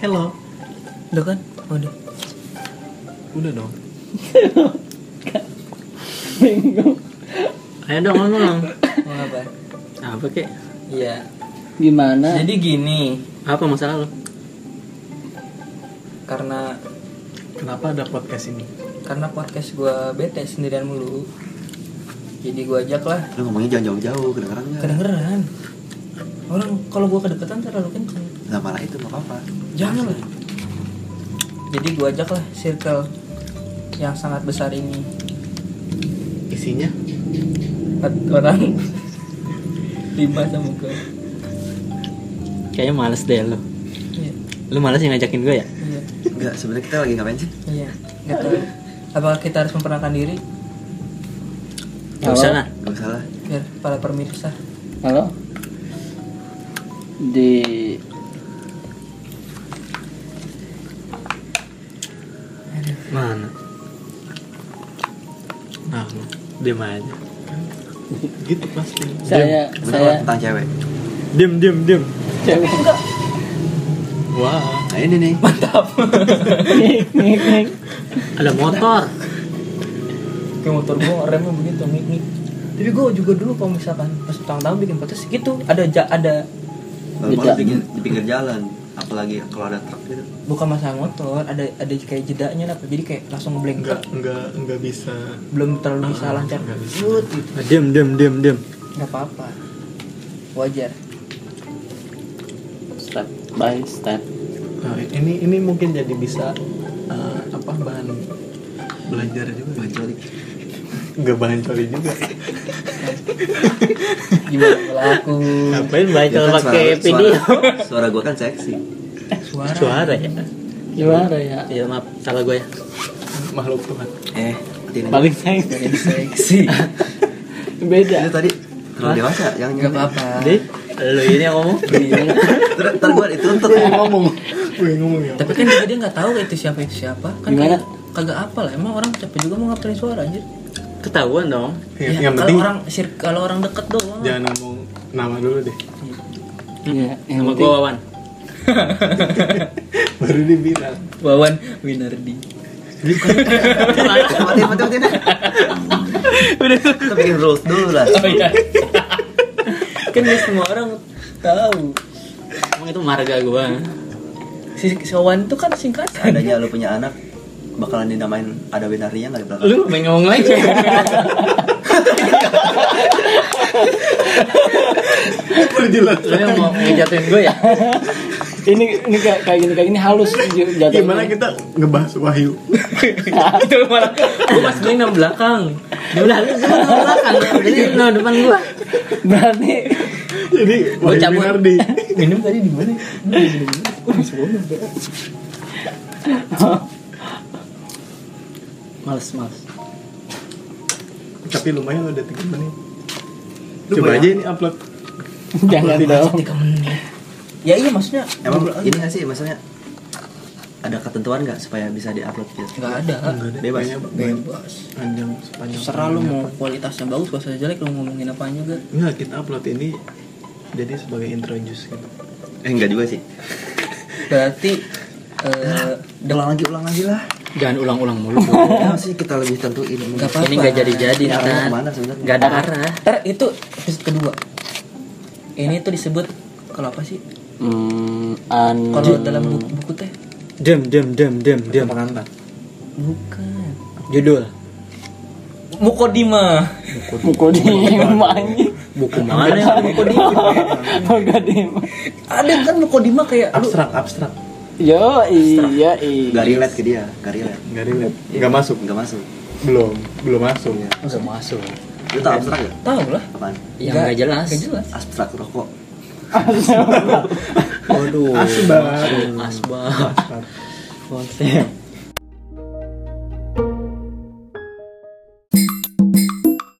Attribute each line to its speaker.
Speaker 1: hello
Speaker 2: Udah kan? Oh, udah.
Speaker 3: Udah dong.
Speaker 1: bingung
Speaker 3: Ayo dong ngomong.
Speaker 2: Mau apa?
Speaker 3: Apa kek?
Speaker 2: Iya.
Speaker 1: gimana
Speaker 2: Jadi gini,
Speaker 3: Apa masalah lo?
Speaker 2: karena
Speaker 3: Kenapa ada podcast ini?
Speaker 2: karena podcast gua bete sendirian mulu. Jadi gua ajak lah
Speaker 4: Lu ngomongnya jangan jauh-jauh, kedengeran nggak?
Speaker 2: Iya. kedengeran. Orang kalau gua kedeketan terlalu kenceng.
Speaker 4: Nah malah itu nggak apa-apa.
Speaker 2: Jangan lah. Jadi gua ajak lah circle yang sangat besar ini
Speaker 3: Isinya?
Speaker 2: Empat orang lima sama gua.
Speaker 3: Kayaknya males deh lo.
Speaker 2: Iya,
Speaker 3: Lu males yang ngajakin gue ya?
Speaker 2: iya,
Speaker 4: Enggak, sebenarnya kita lagi ngapain sih?
Speaker 2: iya. Gak tahu. Apakah kita harus memperkenalkan diri
Speaker 3: Gak usah lah.
Speaker 4: Gak usah lah.
Speaker 2: biar Ya, para pemirsa
Speaker 1: halo di
Speaker 3: Mana? Nah, lu. Diam aja. gitu pasti.
Speaker 1: saya
Speaker 4: Bener
Speaker 1: saya
Speaker 4: lah, tentang cewek.
Speaker 3: Diam, diam, diam.
Speaker 1: cewek
Speaker 3: Wah,
Speaker 4: Nah ini nih.
Speaker 1: Ngik, ngik, ngik.
Speaker 3: ada motor.
Speaker 2: kayak motor gua remnya begitu mik mik tapi gua juga dulu kalau misalkan pas tahun tahun bikin podcast gitu ada ja, ada
Speaker 4: Kalau
Speaker 1: Beda.
Speaker 4: di pinggir, di pinggir jalan, apalagi kalau ada truk gitu.
Speaker 2: bukan masalah motor ada ada kayak jedanya lah jadi kayak langsung ngeblank
Speaker 3: enggak, enggak bisa
Speaker 2: belum terlalu bisa lancar
Speaker 3: nggak bisa.
Speaker 2: shoot gitu
Speaker 3: Diam, diam, diam, diam.
Speaker 2: nggak apa apa wajar
Speaker 1: step by step
Speaker 3: Nah, ini ini mungkin jadi bisa eh, apa bahan belajar juga
Speaker 4: Menculik.
Speaker 3: nggak bahan coli juga
Speaker 2: gimana berlaku
Speaker 3: ngapain
Speaker 4: Ya
Speaker 3: belajar
Speaker 4: kan,
Speaker 3: pakai
Speaker 4: suara-
Speaker 3: video
Speaker 4: Suara, suara gue kan seksi.
Speaker 2: suara
Speaker 3: suara ya
Speaker 1: gimana ya
Speaker 3: ya maaf salah gue ya makhluk Tuhan
Speaker 4: Eh, ini.
Speaker 1: paling sayang
Speaker 2: jadi seksi
Speaker 4: Itu
Speaker 1: beda
Speaker 4: tadi terlalu dewasa, jangan
Speaker 2: nggak
Speaker 4: jangan.
Speaker 2: apa apa
Speaker 3: jadi lo ini yang ngomong
Speaker 4: Ntar, ntar gue dituntut.
Speaker 3: ngomong gue ngomong ya
Speaker 2: tapi kan juga dia nggak tahu itu siapa itu siapa kan
Speaker 1: Gimana?
Speaker 2: kayak- kagak apa lah emang orang capek juga mau ngapelin suara anjir
Speaker 3: ketahuan dong
Speaker 2: Ya,
Speaker 5: Iya,
Speaker 2: kalau orang sir- kalau orang deket doang
Speaker 3: Iya, jangan ngomong nama dulu deh
Speaker 1: Iya, yang
Speaker 3: nama gue
Speaker 1: penting
Speaker 3: Wawan baru dibilang
Speaker 2: Wawan Winardi
Speaker 4: Mati, mati, mati. dah. Kita bikin rules dulu lah.
Speaker 2: Oh iya. kan gak semua orang tahu.
Speaker 3: emang itu marga gue
Speaker 2: Si si Wawan itu kan singkatan.
Speaker 4: Adanya lu punya anak, bakalan dinamain ada winarnya nggak di belakang?
Speaker 3: lu main ngomong lagi lu yang mau ngejatuhin gue ya
Speaker 1: ini ini kayak kayak gini kayak gini halus j- jatuhnya.
Speaker 5: Gimana
Speaker 4: gitu?
Speaker 5: kita ngebahas Wahyu?
Speaker 1: Nah.
Speaker 2: itu malah gua pas bilang nama belakang.
Speaker 3: udah lu cuma ke belakang jadi lu Iya, depan gue
Speaker 1: berarti
Speaker 5: Jadi
Speaker 2: "Iya." Gua
Speaker 5: Wahyu
Speaker 2: cabut.
Speaker 5: Winardi.
Speaker 2: Minum tadi di mana?
Speaker 3: males males
Speaker 5: Tapi lumayan udah 3 menit.
Speaker 4: Lu
Speaker 5: Coba
Speaker 4: banyak.
Speaker 5: aja ini upload.
Speaker 1: jangan dong
Speaker 2: Tiga menit. Ya iya maksudnya
Speaker 4: Emang ini nggak sih maksudnya ada ketentuan nggak supaya bisa diupload gitu?
Speaker 2: nggak ada.
Speaker 4: Bebas.
Speaker 2: Bebas.
Speaker 5: Panjang sepanjang.
Speaker 2: Serah lu mau kualitasnya bagus, bahasa jelek lu ngomongin apaan juga.
Speaker 5: Enggak, kita upload ini jadi sebagai introduce gitu.
Speaker 4: Eh enggak juga sih.
Speaker 2: Berarti eh
Speaker 4: Ulang lagi, ulang lagi lah.
Speaker 3: jangan ulang-ulang mulu
Speaker 4: Ya sih kita lebih tentuin.
Speaker 2: Nggak apa-apa.
Speaker 3: ini nggak jadi-jadi
Speaker 4: Ini arahnya
Speaker 3: kan
Speaker 4: kemana sebenarnya?
Speaker 3: nggak ada arah
Speaker 2: ntar itu episode kedua. Ini tuh disebut kalau apa sih?
Speaker 1: hmm, an
Speaker 2: Kalau dalam buku, buku teh
Speaker 3: dem dem dem dem dem
Speaker 5: Pengantar.
Speaker 2: bukan.
Speaker 3: judul
Speaker 2: Mukodima.
Speaker 1: mukodima anjing
Speaker 3: buku mana yang
Speaker 2: Mukodima.
Speaker 1: mukodima
Speaker 2: Ada kan Mukodima kayak lu
Speaker 5: Abstrak, abstrak.
Speaker 1: yo iya iya
Speaker 4: Nggak relate ke dia, nggak relate.
Speaker 5: Enggak relate. Enggak masuk.
Speaker 4: Nggak masuk.
Speaker 5: Belum, belum masuk.
Speaker 3: udah masuk
Speaker 4: Lu tau abstrak nggak?
Speaker 2: tahu lah.
Speaker 4: Apaan?
Speaker 3: yang nggak jelas
Speaker 2: Gak jelas.
Speaker 4: Abstrak rokok.
Speaker 3: waduh
Speaker 5: Asbak.
Speaker 3: asbak konsep